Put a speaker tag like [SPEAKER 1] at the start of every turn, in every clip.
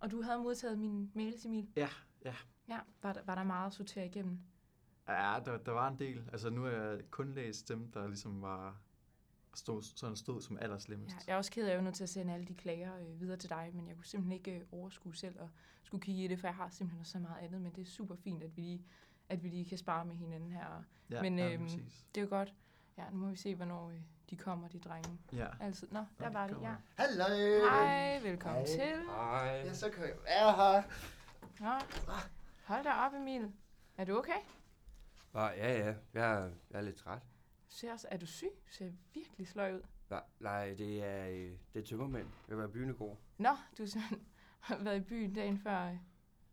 [SPEAKER 1] Og du havde modtaget min mail, Emil.
[SPEAKER 2] Ja, ja.
[SPEAKER 1] Ja, var der, var der meget at sortere igennem?
[SPEAKER 2] Ja, der, der var en del. Altså, nu har jeg kun læst dem, der ligesom var stod, sådan stod som
[SPEAKER 1] Ja,
[SPEAKER 2] allerslemmest.
[SPEAKER 1] jeg er også ked af, at jeg er nødt til at sende alle de klager øh, videre til dig, men jeg kunne simpelthen ikke øh, overskue selv at skulle kigge i det, for jeg har simpelthen også så meget andet, men det er super fint, at vi lige, at vi lige kan spare med hinanden her. og
[SPEAKER 2] ja,
[SPEAKER 1] men,
[SPEAKER 2] ja,
[SPEAKER 1] øhm,
[SPEAKER 2] præcis.
[SPEAKER 1] Det er jo godt. Ja, nu må vi se, hvornår øh, de kommer, de drenge.
[SPEAKER 2] Ja.
[SPEAKER 1] Altid. Nå, der
[SPEAKER 2] de
[SPEAKER 1] var det,
[SPEAKER 2] kommer.
[SPEAKER 1] ja.
[SPEAKER 3] Hallo!
[SPEAKER 1] Hej, velkommen
[SPEAKER 3] Hej.
[SPEAKER 1] til.
[SPEAKER 4] Hej.
[SPEAKER 3] Ja, så kan jeg være her.
[SPEAKER 1] Nå, hold da op, Emil. Er du okay?
[SPEAKER 4] Nå, ja, ja. Jeg er, jeg er lidt træt.
[SPEAKER 1] Du Ser også, er du syg? Du ser virkelig sløj ud.
[SPEAKER 4] Nej, nej det er, øh, det er tømmermænd. Jeg var i byen i går.
[SPEAKER 1] Nå, du har simpelthen været i byen dagen før øh,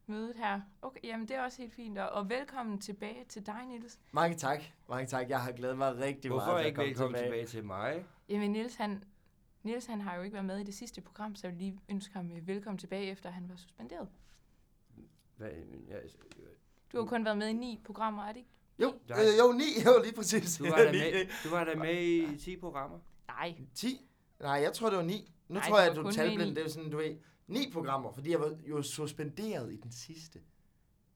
[SPEAKER 1] mødet her. Okay, jamen det er også helt fint. Og, og velkommen tilbage til dig, Niels.
[SPEAKER 3] Mange tak. Mange tak. Jeg har glædet mig rigtig
[SPEAKER 4] Hvorfor
[SPEAKER 3] meget
[SPEAKER 4] er
[SPEAKER 3] til
[SPEAKER 4] jeg
[SPEAKER 3] at
[SPEAKER 4] ikke
[SPEAKER 3] komme
[SPEAKER 4] velkommen
[SPEAKER 3] tilbage.
[SPEAKER 4] tilbage. tilbage til mig?
[SPEAKER 1] Jamen Niels, han, Niels, han har jo ikke været med i det sidste program, så jeg vil lige ønske ham øh, velkommen tilbage, efter han var suspenderet.
[SPEAKER 4] Hvad, øh, men jeg,
[SPEAKER 1] Du har jo kun været med i ni programmer, er det ikke?
[SPEAKER 3] Jo,
[SPEAKER 4] Nej.
[SPEAKER 3] øh, jo, ni. Jo, lige præcis.
[SPEAKER 4] du, var da
[SPEAKER 3] Ni.
[SPEAKER 4] med, du var da med i 10 programmer.
[SPEAKER 1] Nej.
[SPEAKER 3] 10? Nej, jeg tror, det var 9. Nu
[SPEAKER 1] Nej,
[SPEAKER 3] tror
[SPEAKER 1] det
[SPEAKER 3] jeg,
[SPEAKER 1] var
[SPEAKER 3] at du
[SPEAKER 1] kun
[SPEAKER 3] er
[SPEAKER 1] med i
[SPEAKER 3] talblind.
[SPEAKER 1] ni.
[SPEAKER 3] Det er sådan, du ved, 9 programmer, fordi jeg var jo suspenderet i den sidste.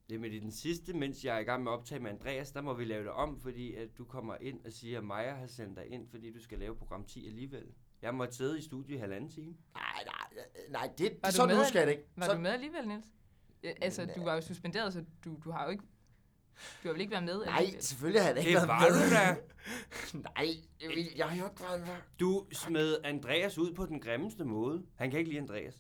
[SPEAKER 4] Jamen i den sidste, mens jeg er i gang med at optage med Andreas, der må vi lave det om, fordi at du kommer ind og siger, at Maja har sendt dig ind, fordi du skal lave program 10 alligevel. Jeg måtte sidde i studiet i halvanden time.
[SPEAKER 3] Nej, nej, nej, det,
[SPEAKER 1] Var
[SPEAKER 3] det
[SPEAKER 1] du
[SPEAKER 3] sådan
[SPEAKER 1] med?
[SPEAKER 3] husker jeg det ikke.
[SPEAKER 1] Var
[SPEAKER 3] Så-
[SPEAKER 1] du med alligevel, Niels? Øh, Altså, du var jo suspenderet, så du, du har jo ikke... Du har vel ikke været med?
[SPEAKER 3] Nej, selvfølgelig har jeg da ikke
[SPEAKER 4] Det var
[SPEAKER 3] været
[SPEAKER 4] du
[SPEAKER 3] med.
[SPEAKER 4] da.
[SPEAKER 3] Nej, Emil, jeg har jo ikke været med.
[SPEAKER 4] Du smed Andreas ud på den grimmeste måde. Han kan ikke lide Andreas.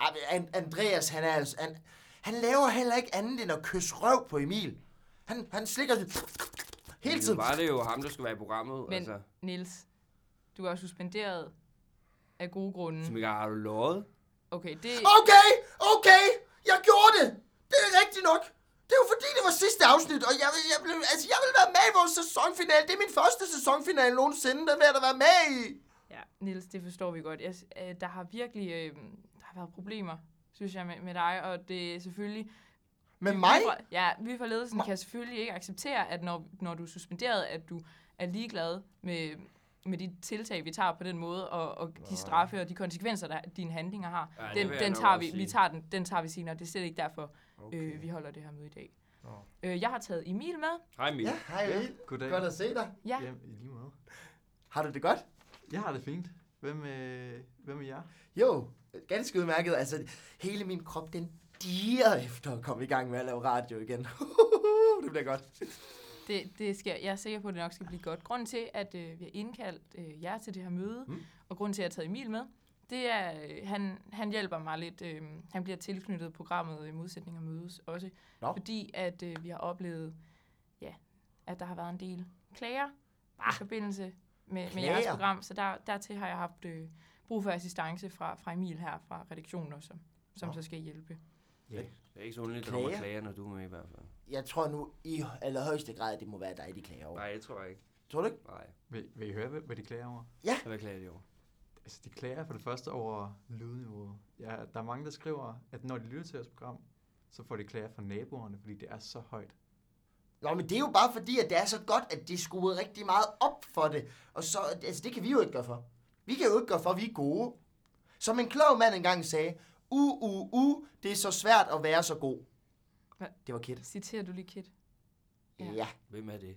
[SPEAKER 3] Ej, men An- Andreas, han er altså... Han, han laver heller ikke andet end at kysse røv på Emil. Han, han slikker sådan hele
[SPEAKER 4] Nu
[SPEAKER 3] tiden.
[SPEAKER 4] var det jo ham, der skulle være i programmet.
[SPEAKER 1] Men
[SPEAKER 4] altså.
[SPEAKER 1] Niels, du var suspenderet af gode
[SPEAKER 4] Som
[SPEAKER 1] grunde.
[SPEAKER 4] ikke har du lovet.
[SPEAKER 1] Okay, det...
[SPEAKER 3] Okay, okay, jeg gjorde det. Det er rigtigt nok. Det er jo fordi, det var sidste afsnit, og jeg, vil- jeg, blev, altså, jeg vil være med i vores sæsonfinale. Det er min første sæsonfinale nogensinde, den vil jeg da være med i.
[SPEAKER 1] Ja, Niels, det forstår vi godt. Jeg, s- øh, der har virkelig øh, der har været problemer, synes jeg, med, med dig, og det er selvfølgelig...
[SPEAKER 3] Med mig?
[SPEAKER 1] Vi fra, ja, vi fra ledelsen kan selvfølgelig ikke acceptere, at når, når du er suspenderet, at du er ligeglad med, med de tiltag, vi tager på den måde, og, og de straffe og de konsekvenser, der dine handlinger har.
[SPEAKER 4] Ja, det
[SPEAKER 1] den,
[SPEAKER 4] vil jeg
[SPEAKER 1] den,
[SPEAKER 4] nok
[SPEAKER 1] tager
[SPEAKER 4] også
[SPEAKER 1] vi, vi
[SPEAKER 4] sige.
[SPEAKER 1] tager den, den tager vi senere. Det er slet ikke derfor, okay. øh, vi holder det her møde i dag. Øh, jeg har taget Emil med.
[SPEAKER 4] Hej Emil.
[SPEAKER 3] Ja, hej Emil.
[SPEAKER 2] Goddag.
[SPEAKER 3] Godt at se dig.
[SPEAKER 1] Ja,
[SPEAKER 2] Jamen, i lige måde.
[SPEAKER 3] Har du det godt?
[SPEAKER 2] Jeg har det fint. Hvem, øh, hvem er jer?
[SPEAKER 3] Jo, ganske udmærket. Altså, hele min krop, den diger efter at komme i gang med at lave radio igen. det bliver godt.
[SPEAKER 1] Det, det skal, jeg er sikker på, at det nok skal blive godt. Grunden til, at øh, vi har indkaldt øh, jer til det her møde, mm. og grunden til, at jeg har taget Emil med, det er, øh, han, han hjælper mig lidt. Øh, han bliver tilknyttet programmet øh, Modsætninger Mødes også,
[SPEAKER 3] Nå.
[SPEAKER 1] fordi at øh, vi har oplevet, ja, at der har været en del klager ah. i forbindelse med, med jeres
[SPEAKER 3] Klager?
[SPEAKER 1] program, så der, dertil har jeg haft øh, brug for assistance fra, fra Emil her fra redaktionen også, som, som så skal hjælpe.
[SPEAKER 4] Det er ikke så underligt, at der kommer
[SPEAKER 3] Klager?
[SPEAKER 4] klager, når du er med i hvert fald.
[SPEAKER 3] Jeg tror nu i allerhøjeste grad, at det må være dig, de klager over.
[SPEAKER 4] Nej, jeg tror ikke.
[SPEAKER 3] Tror du ikke?
[SPEAKER 4] Nej,
[SPEAKER 2] Vil, vil I høre, hvad, hvad de klager over?
[SPEAKER 4] hvad klager de over?
[SPEAKER 2] Altså, de klager for det første over lydniveauet. Ja, der er mange, der skriver, at når de lytter til vores program, så får de klager fra naboerne, fordi det er så højt.
[SPEAKER 3] Nå, men det er jo bare fordi, at det er så godt, at de skruede rigtig meget op for det. Og så, altså det kan vi jo ikke gøre for. Vi kan jo ikke gøre for, at vi er gode. Som en klog mand engang sagde, u, u, u, det er så svært at være så god.
[SPEAKER 1] Hva?
[SPEAKER 3] Det var Kit.
[SPEAKER 1] Citerer du lige, Kit? Ja.
[SPEAKER 3] Ja. ja.
[SPEAKER 4] Hvem er det?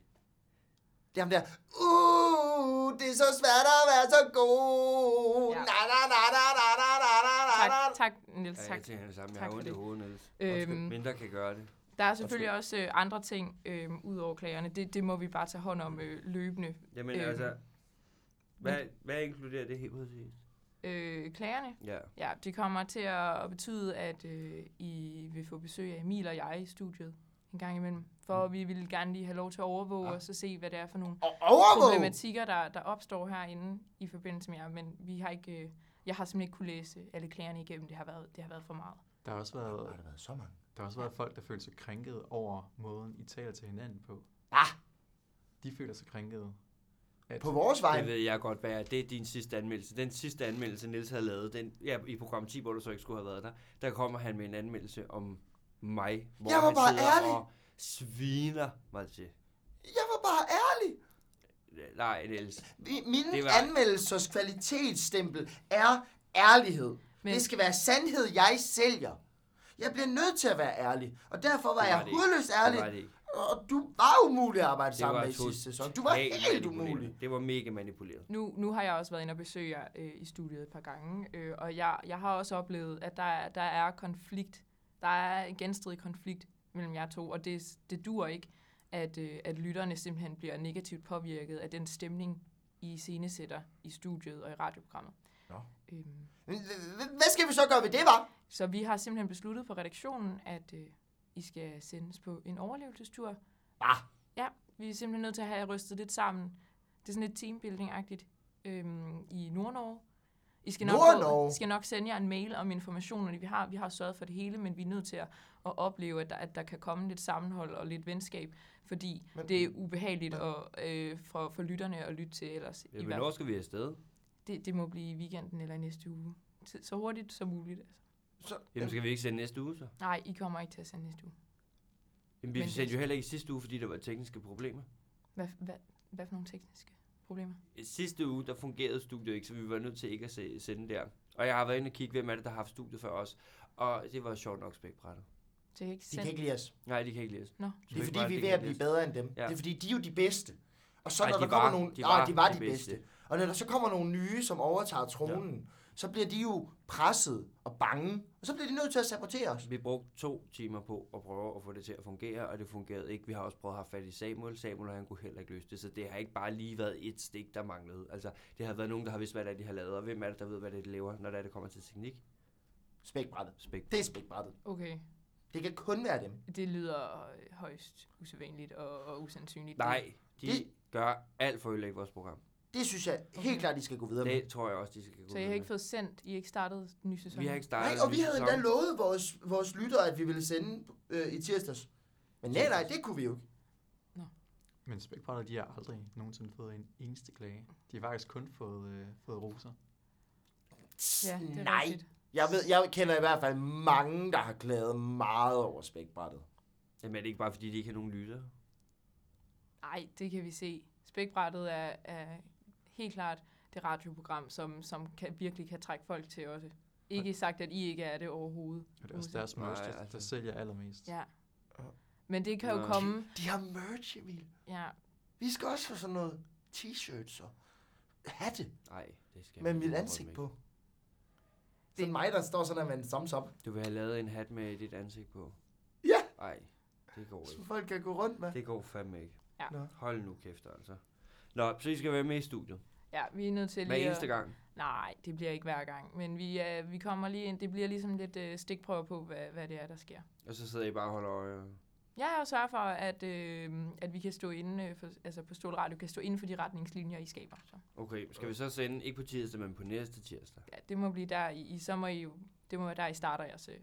[SPEAKER 3] Det er ham der, uh, det er så svært at være så god.
[SPEAKER 1] Ja.
[SPEAKER 3] Ja. Na, na, na, na, na, na, na, na, na,
[SPEAKER 1] Tak,
[SPEAKER 3] na.
[SPEAKER 1] tak Niels.
[SPEAKER 4] Ja,
[SPEAKER 1] tak.
[SPEAKER 4] jeg tænker det samme. Jeg
[SPEAKER 1] Tak
[SPEAKER 4] har
[SPEAKER 1] for
[SPEAKER 4] ondt i
[SPEAKER 1] det.
[SPEAKER 4] hovedet, Niels.
[SPEAKER 1] Øhm.
[SPEAKER 4] Øhm. Mindre kan gøre det.
[SPEAKER 1] Der er selvfølgelig også øh, andre ting øh, ud over klagerne. Det, det må vi bare tage hånd om øh, løbende.
[SPEAKER 4] Jamen
[SPEAKER 1] Øhm.
[SPEAKER 4] øhm. altså, hvad, hvad inkluderer det helt præcis?
[SPEAKER 1] Øh, klagerne,
[SPEAKER 4] Ja.
[SPEAKER 1] ja, det kommer til at betyde, at øh, I vil få besøg af Emil og jeg i studiet en gang imellem. For vi vil gerne lige have lov til at overvåge ja. og så se, hvad det er for nogle
[SPEAKER 3] Og overvåg.
[SPEAKER 1] problematikker, der, der opstår herinde i forbindelse med jer. Men vi har ikke, øh, jeg har simpelthen ikke kunne læse alle klagerne igennem. Det har været, det har været for meget.
[SPEAKER 2] Der har også været,
[SPEAKER 3] Har der været så mange?
[SPEAKER 2] der har også været folk, der føler sig krænket over måden, I taler til hinanden på.
[SPEAKER 3] Ah,
[SPEAKER 2] De føler sig krænkede. At,
[SPEAKER 3] på vores vej.
[SPEAKER 4] Det ved jeg godt, hvad er. Det er din sidste anmeldelse. Den sidste anmeldelse, Niels havde lavet, den, ja, i program 10, hvor du så ikke skulle have været der, der kommer han med en anmeldelse om mig, hvor
[SPEAKER 3] Jeg var
[SPEAKER 4] han
[SPEAKER 3] bare
[SPEAKER 4] sidder
[SPEAKER 3] ærlig.
[SPEAKER 4] og sviner mig til.
[SPEAKER 3] Jeg var bare ærlig.
[SPEAKER 4] Nej, Niels.
[SPEAKER 3] Mi- Mine
[SPEAKER 4] Det
[SPEAKER 3] var...
[SPEAKER 4] var-
[SPEAKER 3] anmeldelsers kvalitetsstempel er ærlighed.
[SPEAKER 1] Men-
[SPEAKER 3] Men... Det skal være sandhed, jeg sælger. Jeg bliver nødt til at være ærlig. Og derfor var
[SPEAKER 4] Det
[SPEAKER 3] jeg
[SPEAKER 4] var det
[SPEAKER 3] hudløst
[SPEAKER 4] Det var
[SPEAKER 3] ærlig.
[SPEAKER 4] det ikke.
[SPEAKER 3] Og du var umulig at arbejde sammen med i
[SPEAKER 4] totalt
[SPEAKER 3] sidste sæson. Du var helt
[SPEAKER 4] manipuleret.
[SPEAKER 3] umulig.
[SPEAKER 4] Det var mega manipuleret.
[SPEAKER 1] Nu, nu har jeg også været inde og besøge jer øh, i studiet et par gange, øh, og jeg, jeg har også oplevet, at der, er- der er konflikt. Der er en genstridig konflikt mellem jer to, og det, det dur ikke, at, øh, at lytterne simpelthen bliver negativt påvirket af den stemning, I scenesætter i studiet og i radioprogrammet.
[SPEAKER 3] Nå.
[SPEAKER 1] Øhm,
[SPEAKER 3] Men h- h- Hvad skal vi så gøre ved det, var?
[SPEAKER 1] så vi har simpelthen besluttet på redaktionen, at øh, I skal sendes på en overlevelsestur.
[SPEAKER 3] Hva?
[SPEAKER 1] Ja, vi er simpelthen nødt til at have jer rystet lidt sammen. Det er sådan lidt teambuilding-agtigt øhm, i Nordnorge. I skal nok,
[SPEAKER 3] Nordnorge?
[SPEAKER 1] Gå, skal nok sende jer en mail om informationerne, vi har. Vi har sørget for det hele, men vi er nødt til at, at opleve, at der, at der kan komme lidt sammenhold og lidt venskab, fordi men,
[SPEAKER 3] Men-
[SPEAKER 1] det er ubehageligt og, øh, for, for lytterne at lytte til ellers.
[SPEAKER 4] Ja,
[SPEAKER 1] i hvert
[SPEAKER 4] Hvornår skal vi afsted?
[SPEAKER 1] fald. det, det må blive i weekenden eller i næste uge. Tid- Så hurtigt som muligt. altså.
[SPEAKER 3] Så,
[SPEAKER 4] Jamen, skal vi ikke sende næste uge, så?
[SPEAKER 1] Nej, I kommer ikke til at sende næste uge.
[SPEAKER 4] Jamen, vi
[SPEAKER 1] Men-
[SPEAKER 4] sendte jo heller ikke sidste uge, fordi der var tekniske problemer.
[SPEAKER 1] Hvad, hvad, hvad for nogle tekniske problemer?
[SPEAKER 4] Sidste uge, der fungerede studiet ikke, så vi var nødt til ikke at se- sende der. Og jeg har været inde og kigge, hvem er det, der har haft studiet før os. Og det var sjovt nok spækbrættet.
[SPEAKER 1] Så jeg kan ikke
[SPEAKER 3] de kan
[SPEAKER 1] sende...
[SPEAKER 3] ikke lide os.
[SPEAKER 4] Nej, de kan ikke læse.
[SPEAKER 1] Nå.
[SPEAKER 3] Det er fordi,
[SPEAKER 4] Spækbrættet,
[SPEAKER 3] vi er ved at
[SPEAKER 4] det kan ikke
[SPEAKER 3] blive
[SPEAKER 4] læse.
[SPEAKER 3] bedre end dem.
[SPEAKER 4] Ja.
[SPEAKER 3] Det er fordi, de er jo de bedste. Og så
[SPEAKER 4] Ej,
[SPEAKER 3] når
[SPEAKER 4] de
[SPEAKER 3] der kommer
[SPEAKER 4] var-
[SPEAKER 3] nogle...
[SPEAKER 4] de
[SPEAKER 3] Nå,
[SPEAKER 4] var
[SPEAKER 3] de var
[SPEAKER 4] de
[SPEAKER 3] de
[SPEAKER 4] bedste.
[SPEAKER 3] bedste. Og når der så kommer nogle nye, som overtager tronen, så bliver de jo presset og bange. Og så bliver de nødt til at sabotere os.
[SPEAKER 4] Vi brugte to timer på at prøve at få det til at fungere, og det fungerede ikke. Vi har også prøvet at have fat i Samuel. Samuel han kunne heller ikke løse det, så det har ikke bare lige været et stik, der manglede. Altså, det har været nogen, der har vidst, hvad det er, de har lavet, og hvem er det, der ved, hvad det er, de laver, når det er, det kommer til teknik?
[SPEAKER 3] Spækbrættet.
[SPEAKER 4] Spæk.
[SPEAKER 3] Det er spækbrættet.
[SPEAKER 1] Okay,
[SPEAKER 3] Det kan kun være dem.
[SPEAKER 1] det lyder øh, højst usædvanligt og, og usandsynligt.
[SPEAKER 4] Nej, de
[SPEAKER 3] Det-
[SPEAKER 4] gør alt for at ødelægge vores program.
[SPEAKER 3] Det synes jeg helt klart, de skal gå videre med.
[SPEAKER 4] Det tror jeg også, de skal gå
[SPEAKER 1] Så jeg
[SPEAKER 4] videre
[SPEAKER 1] har ikke
[SPEAKER 4] med.
[SPEAKER 1] fået sendt... I har ikke startet den nye sæson?
[SPEAKER 4] Vi har ikke startet
[SPEAKER 3] Nej,
[SPEAKER 4] en
[SPEAKER 3] og
[SPEAKER 4] ny
[SPEAKER 3] vi havde
[SPEAKER 4] altså sæson.
[SPEAKER 3] endda lovet vores, vores lyttere, at vi ville sende øh, i tirsdags. Men nej, nej, det kunne vi jo ikke.
[SPEAKER 2] Men spækbrættet, de har aldrig nogensinde fået en eneste klage. De har faktisk kun fået, øh, fået roser.
[SPEAKER 1] Ja, det er
[SPEAKER 3] nej.
[SPEAKER 1] rigtigt.
[SPEAKER 3] Jeg, ved, jeg kender i hvert fald mange, der har klaget meget over spækbrættet.
[SPEAKER 4] Jamen, er det ikke bare, fordi de ikke har nogen lytter?
[SPEAKER 1] Nej, det kan vi se. Spækbrættet er, er helt klart det radioprogram, som, som kan, virkelig kan trække folk til også. Ikke sagt, at I ikke er det overhovedet.
[SPEAKER 2] Og det er også
[SPEAKER 1] Roser.
[SPEAKER 2] deres merch,
[SPEAKER 4] Nej,
[SPEAKER 2] der,
[SPEAKER 4] altså.
[SPEAKER 2] der sælger allermest.
[SPEAKER 1] Ja. Men det kan jo
[SPEAKER 4] Nå.
[SPEAKER 1] komme...
[SPEAKER 3] De har merch, Emil.
[SPEAKER 1] Ja,
[SPEAKER 3] Vi skal også have sådan noget t-shirts og hatte
[SPEAKER 4] Nej, det skal
[SPEAKER 3] med
[SPEAKER 4] man
[SPEAKER 3] mit
[SPEAKER 4] overhovedet
[SPEAKER 3] ansigt
[SPEAKER 4] ikke.
[SPEAKER 3] på. Det er mig, der står sådan der med en thumbs up,
[SPEAKER 4] Du vil have lavet en hat med dit ansigt på.
[SPEAKER 3] Ja.
[SPEAKER 4] Nej, det går ikke.
[SPEAKER 3] som folk kan gå rundt med.
[SPEAKER 4] Det går fandme ikke.
[SPEAKER 1] Ja.
[SPEAKER 3] Nå.
[SPEAKER 4] Hold nu kæft, altså. Nå, så I skal være med i studiet.
[SPEAKER 1] ja, vi er nødt til
[SPEAKER 4] Hver
[SPEAKER 1] lige
[SPEAKER 4] eneste gang.
[SPEAKER 1] Nej, det bliver ikke hver gang, men vi, øh, vi kommer lige ind. Det bliver ligesom lidt øh, stikprøver på, hvad, hvad det er, der sker.
[SPEAKER 4] Og så sidder I bare og holder øje.
[SPEAKER 1] Jeg har jo sørget for, at, øh, at vi kan stå inde, øh, for, altså på Stol Radio kan stå inden for de retningslinjer, I skaber. Så,
[SPEAKER 4] Okay, skal vi så sende, ikke på tirsdag, men på næste tirsdag?
[SPEAKER 1] ja, det må blive der, I, I- så må I jo, det må være der, I starter jeres øh,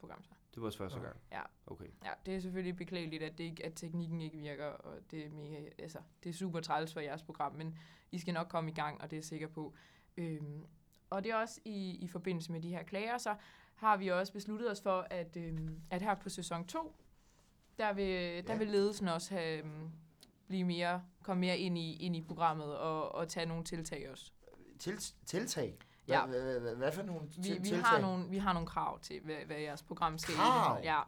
[SPEAKER 1] program. Så.
[SPEAKER 4] Det var vores første
[SPEAKER 3] Ja.
[SPEAKER 4] gang.
[SPEAKER 1] Ja.
[SPEAKER 4] Okay.
[SPEAKER 1] Ja, det er selvfølgelig beklageligt, at, det ikke, at teknikken ikke virker, og det er, mega, altså, det er super træls for jeres program, men I skal nok komme i gang, og det er jeg sikker på. Øhm, og det er også i, i forbindelse med de her klager, så har vi også besluttet os for, at, øhm, at her på sæson 2, der vil, der
[SPEAKER 3] Ja.
[SPEAKER 1] vil ledelsen også have, øhm, blive mere, komme mere ind i, ind i programmet og, og tage nogle tiltag også.
[SPEAKER 3] Til, tiltag?
[SPEAKER 1] Ja.
[SPEAKER 3] Hvad, hvad, hvad, hvad for nogle
[SPEAKER 1] vi,
[SPEAKER 3] til-
[SPEAKER 1] vi,
[SPEAKER 3] tiltag?
[SPEAKER 1] har nogle, vi har nogle krav til, hvad, hvad jeres program skal
[SPEAKER 3] Krav?
[SPEAKER 1] indeholde. Ja.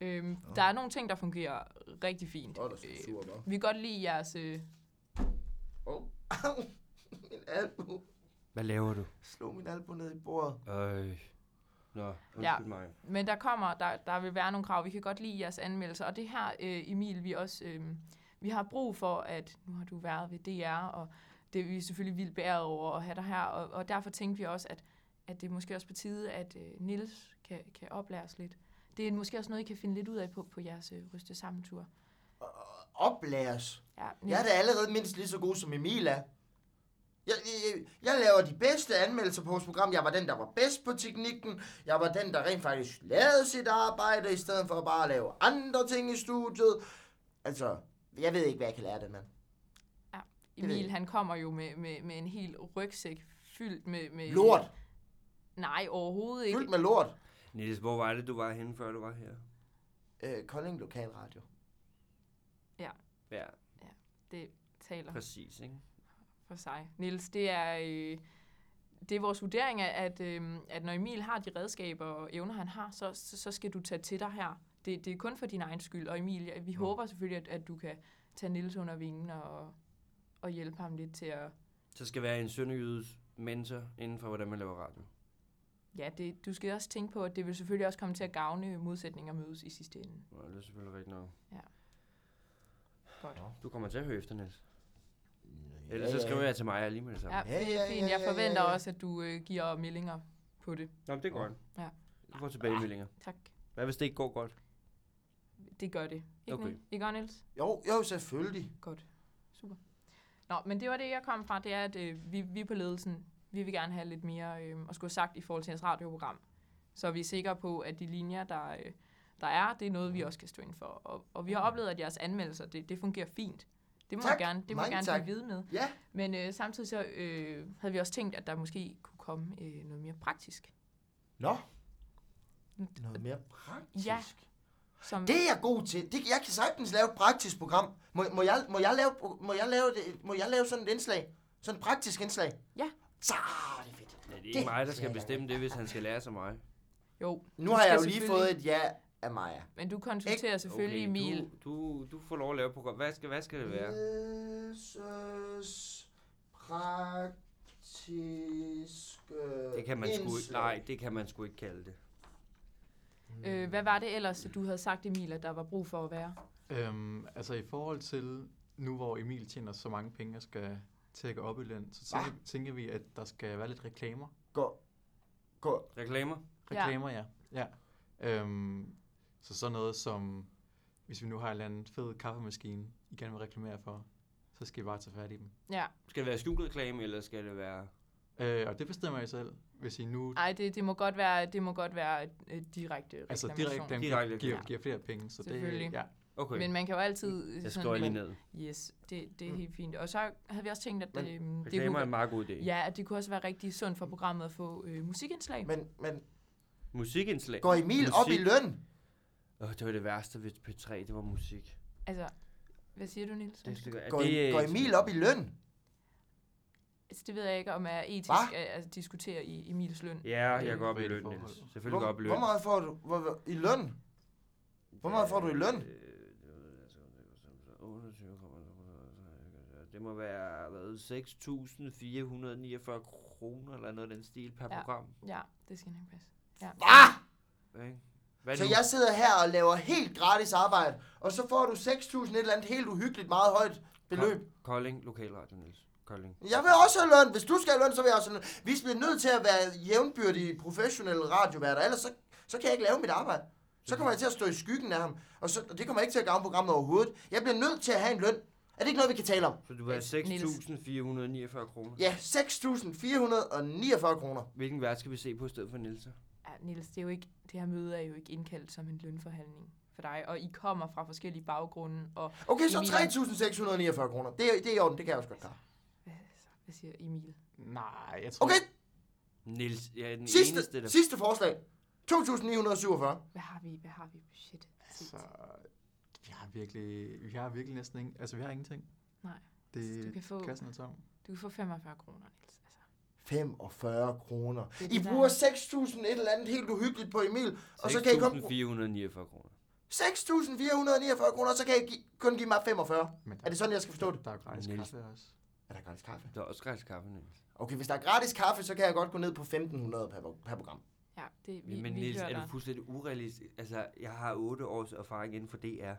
[SPEAKER 1] Øhm, Der er nogle ting, der fungerer rigtig fint. Øh,
[SPEAKER 3] Åh, oh, der er sur, hva'?
[SPEAKER 1] vi kan godt lide jeres... Øh,
[SPEAKER 3] Åh, au. min albu.
[SPEAKER 4] Hvad laver du?
[SPEAKER 3] Slog min albu ned i bordet.
[SPEAKER 4] Øh. Nå, undskyld mig.
[SPEAKER 1] men der kommer, der, der vil være nogle krav. Vi kan godt lide jeres anmeldelser. Og det her, øh, Emil, vi også... Øh, vi har brug for, at nu har du været ved DR, og det er vi selvfølgelig vildt bæret over at have dig her. Og, og derfor tænkte vi også, at, at det er måske også på tide, at øh, Nils kan, kan oplære os lidt. Det er måske også noget, I kan finde lidt ud af på, på jeres øh, ryste sammentur.
[SPEAKER 3] Oplæres.
[SPEAKER 1] Ja,
[SPEAKER 3] Jeg er da allerede mindst lige så god som Emil er. Jeg, jeg, jeg laver de bedste anmeldelser på vores program. Jeg var den, der var bedst på teknikken. Jeg var den, der rent faktisk lavede sit arbejde, i stedet for bare at lave andre ting i studiet. Altså, jeg ved ikke, hvad jeg kan lære af den mand. ved
[SPEAKER 1] Emil,
[SPEAKER 3] jeg.
[SPEAKER 1] han kommer jo med, med, med en hel rygsæk fyldt med... med
[SPEAKER 3] Lort.
[SPEAKER 1] Nej, overhovedet Øh, ikke.
[SPEAKER 3] Fyldt med lort.
[SPEAKER 4] Niels, hvor var det, du var henne, før du var her?
[SPEAKER 3] Øh, Kolding Lokalradio.
[SPEAKER 4] Ja,
[SPEAKER 1] Det taler
[SPEAKER 4] præcis, ikke?
[SPEAKER 1] for sig. Niels, det er... Øh, det er vores vurdering, at, at, øhm, at når Emil har de redskaber og evner, han har, så, så, så skal du tage til dig her. Det, det er kun for din egen skyld. Og Emil, ja, vi
[SPEAKER 4] Mm.
[SPEAKER 1] håber selvfølgelig, at, at du kan tage Nils under vingen og, og hjælpe ham lidt til at...
[SPEAKER 4] Så skal være en sønderjydes mentor inden for, hvordan man laver radio.
[SPEAKER 1] Ja, det, du skal også tænke på, at det vil selvfølgelig også komme til at gavne modsætninger mødes i sidste ende.
[SPEAKER 4] Nå, det er selvfølgelig rigtigt nok.
[SPEAKER 1] Godt.
[SPEAKER 4] Du kommer til at høre efter, Niels. Ellers så skriver jeg til mig lige med det samme.
[SPEAKER 1] Ja,
[SPEAKER 3] Ja, ja,
[SPEAKER 1] fint. Jeg forventer også, at du øh, giver meldinger på det.
[SPEAKER 4] Nå, men det går godt.
[SPEAKER 1] Ja.
[SPEAKER 4] Du får tilbagemeldinger.
[SPEAKER 1] Tak.
[SPEAKER 4] Hvad hvis det ikke går godt?
[SPEAKER 1] Det gør det. Ikke,
[SPEAKER 4] Okay.
[SPEAKER 1] Niels? ikke også, Niels?
[SPEAKER 3] Jo, jo, selvfølgelig.
[SPEAKER 1] Godt. Super. Nå, men det var det, jeg kom fra. Det er, at øh, vi, vi på ledelsen, vi vil gerne have lidt mere øh, at skulle have sagt i forhold til jeres radioprogram. Så vi er sikre på, at de linjer, der, øh, der er, det er noget, vi også kan stå ind for. Og, og vi har oplevet, at jeres anmeldelser, det, det fungerer fint. Det må
[SPEAKER 3] Tak.
[SPEAKER 1] jeg gerne, det må jeg
[SPEAKER 3] Mange
[SPEAKER 1] gerne
[SPEAKER 3] tak.
[SPEAKER 1] blive ved med.
[SPEAKER 3] Ja,
[SPEAKER 1] Men øh, samtidig så øh, havde vi også tænkt, at der måske kunne komme øh, noget mere praktisk.
[SPEAKER 3] nå. Noget mere praktisk.
[SPEAKER 1] Ja. Som,
[SPEAKER 3] Det er jeg god til. Det, jeg kan sagtens lave et praktisk program. Må, må, jeg, må, jeg, lave, må, jeg, lave det, må jeg lave sådan et indslag? Sådan et praktisk indslag?
[SPEAKER 1] Ja.
[SPEAKER 3] Så, ah, det er fedt.
[SPEAKER 4] Ja, det er ikke
[SPEAKER 3] Det-
[SPEAKER 4] mig, der skal
[SPEAKER 3] Ja.
[SPEAKER 4] bestemme det, hvis han skal lære sig mig.
[SPEAKER 1] Jo,
[SPEAKER 3] Nu
[SPEAKER 1] du
[SPEAKER 3] har
[SPEAKER 1] skal
[SPEAKER 3] jeg jo lige
[SPEAKER 1] selvfølgelig-
[SPEAKER 3] fået et ja af Maja.
[SPEAKER 1] Men du konsulterer selvfølgelig okay, Emil.
[SPEAKER 4] Du, du, du får lov at lave program. Hvad skal, hvad skal det være?
[SPEAKER 3] Jesus praktiske
[SPEAKER 4] Det kan man sgu ikke.
[SPEAKER 3] indslag.
[SPEAKER 4] Nej, det kan man sgu ikke kalde det.
[SPEAKER 1] Øh, hvad var det ellers, du havde sagt, Emil, at der var brug for at være?
[SPEAKER 2] Øhm, altså i forhold til nu, hvor Emil tjener så mange penge og skal tække op i løn, så tænker, tænker vi, at der skal være lidt reklamer.
[SPEAKER 3] Gå. Gå.
[SPEAKER 4] Reklamer?
[SPEAKER 1] Ja.
[SPEAKER 2] Reklamer, ja. ja. Øhm, så sådan noget som, hvis vi nu har en eller anden fed kaffemaskine, I gerne vil reklamere for, så skal I bare tage fat i dem.
[SPEAKER 1] Ja,
[SPEAKER 4] Skal det være skjult reklame, eller skal det være...
[SPEAKER 2] Øh, og det bestemmer I selv, hvis I nu
[SPEAKER 1] nej, det, det, må godt være, det må godt være øh, direkte reklamation.
[SPEAKER 2] altså direkte dem
[SPEAKER 4] Direkte
[SPEAKER 2] giver, giver,
[SPEAKER 1] reklamation.
[SPEAKER 2] giver flere penge. Så
[SPEAKER 1] Selvfølgelig.
[SPEAKER 2] det, ja.
[SPEAKER 4] Okay,
[SPEAKER 1] Men man kan jo altid... øh,
[SPEAKER 4] jeg
[SPEAKER 1] sådan-
[SPEAKER 4] skriver lige ned.
[SPEAKER 1] Yes, det, det er helt fint. Og så havde vi også tænkt, at
[SPEAKER 4] Mm. Men
[SPEAKER 1] det, øhm, det,
[SPEAKER 4] Reklamer er en
[SPEAKER 1] kunne,
[SPEAKER 4] meget god idé.
[SPEAKER 1] ja, at det kunne også være rigtig sundt for programmet at få øh, musikindslag.
[SPEAKER 3] Men, men
[SPEAKER 4] Musikindslag.
[SPEAKER 3] går Emil Musik. op i løn?
[SPEAKER 4] Åh, det var det værste ved P3, det var musik.
[SPEAKER 1] Altså, hvad siger du, Nils?
[SPEAKER 4] Det, det,
[SPEAKER 3] Går, det, går Emil op i løn?
[SPEAKER 1] Altså, det ved jeg ikke, om jeg er etisk
[SPEAKER 3] Hva?
[SPEAKER 1] at at diskutere i Emils løn.
[SPEAKER 4] Ja, jeg går op i
[SPEAKER 2] Private
[SPEAKER 4] løn,
[SPEAKER 2] forhold.
[SPEAKER 4] Niels. Selvfølgelig går jeg op
[SPEAKER 3] Hvor,
[SPEAKER 4] i løn.
[SPEAKER 3] hvor meget får du hvor, hvor- i løn? hvor meget får du i løn?
[SPEAKER 4] Øh, det ved jeg sgu ikke, hvor meget. 28,3. Det må være hvad, 6.449 kroner eller noget af den stil per
[SPEAKER 1] Ja.
[SPEAKER 4] program.
[SPEAKER 1] Ja, det skal nok passe. Ja.
[SPEAKER 3] Ah!
[SPEAKER 4] Ikke? Hvad
[SPEAKER 3] Så
[SPEAKER 4] nu?
[SPEAKER 3] jeg sidder her og laver helt gratis arbejde, og så får du 6.000 et eller andet helt uhyggeligt meget højt beløb.
[SPEAKER 4] Kolding, lokalradio, Niels. Kolding.
[SPEAKER 3] Jeg vil også have løn. Hvis du skal have løn, så vil jeg også have løn. Vi bliver nødt til at være jævnbyrdige professionelle radioværter, ellers så, så kan jeg ikke lave mit arbejde. Så kommer jeg til at stå i skyggen af ham, og, så, og det kommer ikke til at gavne programmet overhovedet. Jeg bliver nødt til at have en løn. Er det ikke noget, vi kan tale om?
[SPEAKER 4] Så du vil have
[SPEAKER 1] Niels.
[SPEAKER 4] 6.449 kroner.
[SPEAKER 3] Ja, 6.449 kroner.
[SPEAKER 4] Hvilken vært skal vi se på i stedet for Nielsen?
[SPEAKER 1] Ja, Niels, det, er jo ikke, det her møde er jo ikke indkaldt som en lønforhandling for dig, og I kommer fra forskellige baggrunde, og
[SPEAKER 3] Okay, så
[SPEAKER 1] Emil.
[SPEAKER 3] 3.649 kroner. Det er, det er i orden, det kan jeg også godt klare.
[SPEAKER 1] hvad, hvad siger Emil?
[SPEAKER 2] Nej, jeg tror...
[SPEAKER 3] Okay,
[SPEAKER 4] Niels, jeg er den eneste,
[SPEAKER 3] sidste,
[SPEAKER 4] der...
[SPEAKER 3] sidste forslag. 2.947.
[SPEAKER 1] Hvad har vi, hvad har vi i budget?
[SPEAKER 4] Altså,
[SPEAKER 2] Så altså, vi har virkelig, vi har virkelig næsten ingen, altså vi har ingenting.
[SPEAKER 1] Nej,
[SPEAKER 2] Det,
[SPEAKER 1] du kan få-
[SPEAKER 2] Kassen er tom.
[SPEAKER 1] Du kan få 45 kroner, Niels. Altså,
[SPEAKER 3] 45 kroner.
[SPEAKER 1] Det er
[SPEAKER 3] I
[SPEAKER 1] det, der
[SPEAKER 3] bruger
[SPEAKER 1] er.
[SPEAKER 3] 6.000 et eller andet helt uhyggeligt på Emil, og så kan I kun bruge
[SPEAKER 4] 6.449 kroner.
[SPEAKER 3] 6.449 kroner, så kan I gi- kun give mig 45.
[SPEAKER 2] Men
[SPEAKER 3] Er det sådan, jeg skal forstå det?
[SPEAKER 2] Der er jo gratis
[SPEAKER 4] Niels.
[SPEAKER 2] kaffe også.
[SPEAKER 3] Er der gratis kaffe?
[SPEAKER 4] Der er også gratis kaffe, Niels.
[SPEAKER 3] Okay, hvis der er gratis kaffe, så kan jeg godt gå ned på 1.500 per, per program.
[SPEAKER 1] Altså, ja, det, vi,
[SPEAKER 4] Vi, Men
[SPEAKER 1] vi
[SPEAKER 4] Niels,
[SPEAKER 1] hører
[SPEAKER 4] er du
[SPEAKER 1] dig.
[SPEAKER 4] fuldstændig urealistisk? Altså, jeg har 8 års erfaring inden for DR.
[SPEAKER 3] Ja,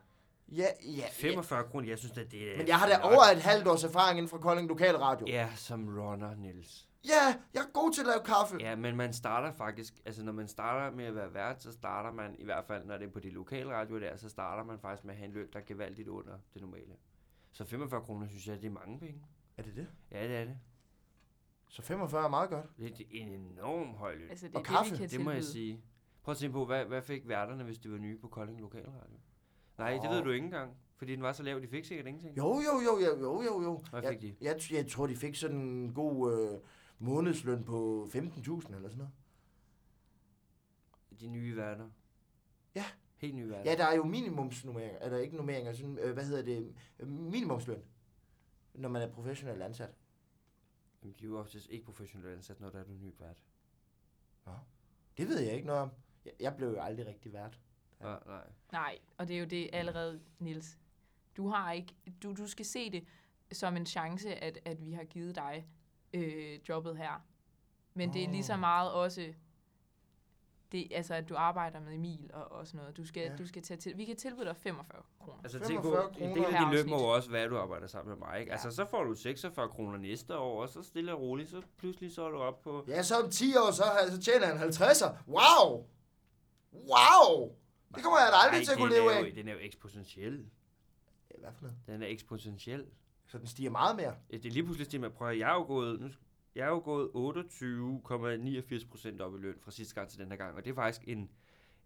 [SPEAKER 3] ja. ja.
[SPEAKER 4] 45 kroner, jeg synes, at det er...
[SPEAKER 3] Men jeg har da
[SPEAKER 4] flot.
[SPEAKER 3] over et halvt års erfaring inden for Kolding Lokal Radio.
[SPEAKER 4] Ja, som runner, Niels.
[SPEAKER 3] Ja, jeg er god til at lave kaffe.
[SPEAKER 4] Ja, men man starter faktisk... Altså, når man starter med at være vært, så starter man, i hvert fald når det er på de lokale radioer der, så starter man faktisk med at have en løn, der er gevaldigt under det normale. Så 45 kroner, synes jeg, det er mange penge.
[SPEAKER 3] Er det det?
[SPEAKER 4] Ja, det er det.
[SPEAKER 3] Så 45 er meget godt.
[SPEAKER 4] Det er en enorm høj løn.
[SPEAKER 1] Altså, det
[SPEAKER 3] Og
[SPEAKER 1] er
[SPEAKER 3] kaffe,
[SPEAKER 1] det, vi kan
[SPEAKER 4] Det må jeg
[SPEAKER 1] tilbyde.
[SPEAKER 4] sige. Prøv at tænke på, hvad, hvad fik værterne, hvis de var nye på Kolding Lokalradio? Nej, det ved
[SPEAKER 3] Åh.
[SPEAKER 4] du ikke engang. Fordi den var så lav, de fik sikkert ingenting.
[SPEAKER 3] Jo, jo, jo, jo, jo, jo. jo.
[SPEAKER 4] Hvad
[SPEAKER 3] jeg,
[SPEAKER 4] fik de?
[SPEAKER 3] Jeg, t- jeg tror, de fik sådan en god øh, månedsløn på 15.000 eller sådan noget.
[SPEAKER 4] De nye værter.
[SPEAKER 3] Ja.
[SPEAKER 4] Helt nye værter.
[SPEAKER 3] Ja, der er jo minimumsnummeringer, eller ikke nummeringer, sådan, øh, hvad hedder det, øh, minimumsløn, når man er professionel ansat.
[SPEAKER 4] Jamen, de er jo oftest ikke professionelt ansat, når der er du ny vært.
[SPEAKER 3] Det ved jeg ikke noget om. Jeg, jeg blev jo aldrig rigtig vært.
[SPEAKER 4] Ja. Ah, nej.
[SPEAKER 1] Nej, og det er jo det allerede, Nils. Du har ikke, du, du skal se det som en chance, at, at vi har givet dig øh, jobbet her. Men det er lige så
[SPEAKER 3] Åh.
[SPEAKER 1] meget også, det, altså, at du arbejder med Emil og, og sådan noget. Du skal,
[SPEAKER 3] Ja.
[SPEAKER 1] ja. du skal tage til, vi kan tilbyde dig 45 kroner.
[SPEAKER 4] Altså,
[SPEAKER 3] 45
[SPEAKER 4] tænk på, en del af
[SPEAKER 1] kroner
[SPEAKER 4] din løn
[SPEAKER 1] per
[SPEAKER 4] må jo også være, at du arbejder sammen med mig. Ikke?
[SPEAKER 1] Ja.
[SPEAKER 4] Altså, så får du 46 kroner næste år, og så stille og roligt, så pludselig så er du op på...
[SPEAKER 3] Ja, så om 10 år, så, har- så tjener han 50'er. Wow! Wow! Det kommer jeg da aldrig
[SPEAKER 4] Nej,
[SPEAKER 3] til at kunne
[SPEAKER 4] den
[SPEAKER 3] leve
[SPEAKER 4] er jo-
[SPEAKER 3] af.
[SPEAKER 4] Den er jo eksponentiel.
[SPEAKER 3] Ja, Hvad for noget?
[SPEAKER 4] Den er eksponentiel.
[SPEAKER 3] Så den stiger meget mere.
[SPEAKER 4] Ja, Det er lige pludselig det, man prøver. Jeg er jo gået, nu, sk- jeg er jo gået 28,89 procent op i løn fra sidste gang til den her gang, og det er faktisk en,